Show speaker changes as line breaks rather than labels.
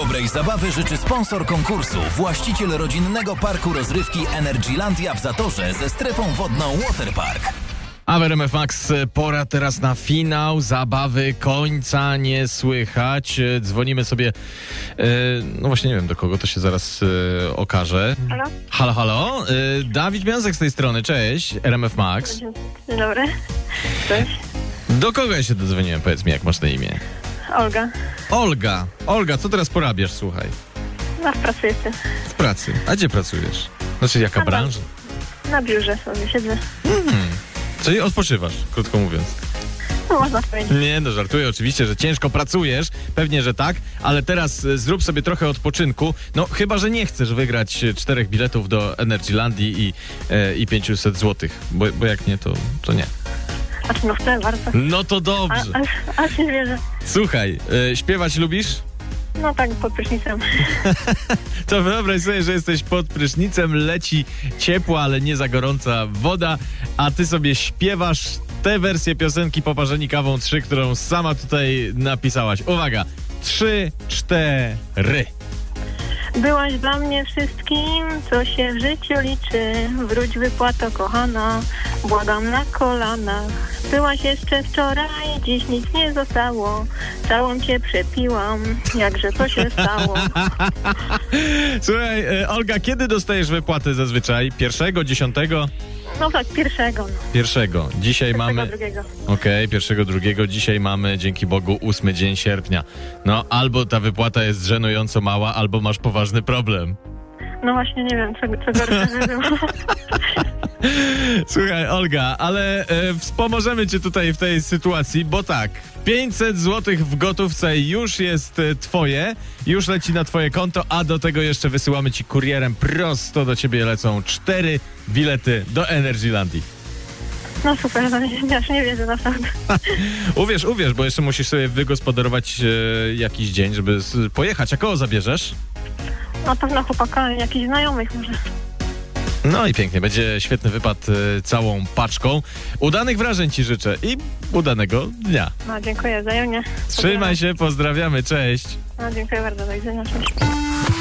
Dobrej zabawy życzy sponsor konkursu, właściciel rodzinnego parku rozrywki Energylandia w Zatorze ze strefą wodną Waterpark.
A w RMF Max e, pora teraz na finał zabawy końca nie słychać. E, Dzwonimy sobie. e, no właśnie nie wiem do kogo to się zaraz e, okaże.
Halo?
Halo, halo. E, Dawid Miązek z tej strony, cześć, RMF Max.
Dzień dobry. Cześć.
Do kogo ja się dodzwoniłem? Powiedz mi, jak masz na imię.
Olga.
Olga. Olga, co teraz porabiasz, słuchaj?
Na w pracy jestem.
W pracy. A gdzie pracujesz? Znaczy jaka
Na
branża?
Na biurze sobie siedzę.
Czyli odpoczywasz, krótko mówiąc.
No można powiedzieć.
Nie, no żartuję oczywiście, że ciężko pracujesz, pewnie, że tak, ale teraz e, zrób sobie trochę odpoczynku, no chyba, że nie chcesz wygrać e, czterech biletów do Energylandii i, e, i 500 złotych, bo, bo jak nie, to, to nie.
A czy no chcę bardzo.
No to
A,
dobrze.
aż, aż nie wierzę.
Słuchaj, e, śpiewać lubisz?
No tak, pod prysznicem.
To wyobraź sobie, że jesteś pod prysznicem, leci ciepła, ale nie za gorąca woda, a ty sobie śpiewasz tę wersję piosenki Poparzeni Kawą 3, którą sama tutaj napisałaś. Uwaga, 3, 4.
Byłaś dla mnie wszystkim, co się w życiu liczy. Wróć wypłato, kochana. Błagam na kolanach. Byłaś jeszcze wczoraj, dziś nic nie zostało. Całą cię przepiłam. Jakże to się stało?
Słuchaj, e, Olga, kiedy dostajesz wypłaty zazwyczaj? Pierwszego, dziesiątego?
No tak, pierwszego. No,
Pierwszego. Dzisiaj
pierwszego,
mamy...
drugiego.
Okej, pierwszego, drugiego. Dzisiaj mamy, dzięki Bogu, ósmy dzień sierpnia. No, albo ta wypłata jest żenująco mała, albo masz poważny problem.
No właśnie, nie wiem, co, co gorsze by było.
Słuchaj, Olga, ale e, wspomożemy cię tutaj w tej sytuacji, bo tak, 500 zł w gotówce już jest e, twoje, już leci na twoje konto, a do tego jeszcze wysyłamy ci kurierem prosto do ciebie lecą cztery bilety do Energylandii.
No super, no nie, aż nie wiedzę naprawdę.
Uwierz, uwierz, bo jeszcze musisz sobie wygospodarować e, jakiś dzień, żeby s- pojechać. A kogo zabierzesz?
Na pewno chłopaka, jakichś znajomych może.
No i pięknie, będzie świetny wypad e, całą paczką. Udanych wrażeń ci życzę i udanego dnia.
No dziękuję, wzajemnie.
Trzymaj się, pozdrawiamy, cześć.
No dziękuję bardzo, do widzenia. Cześć.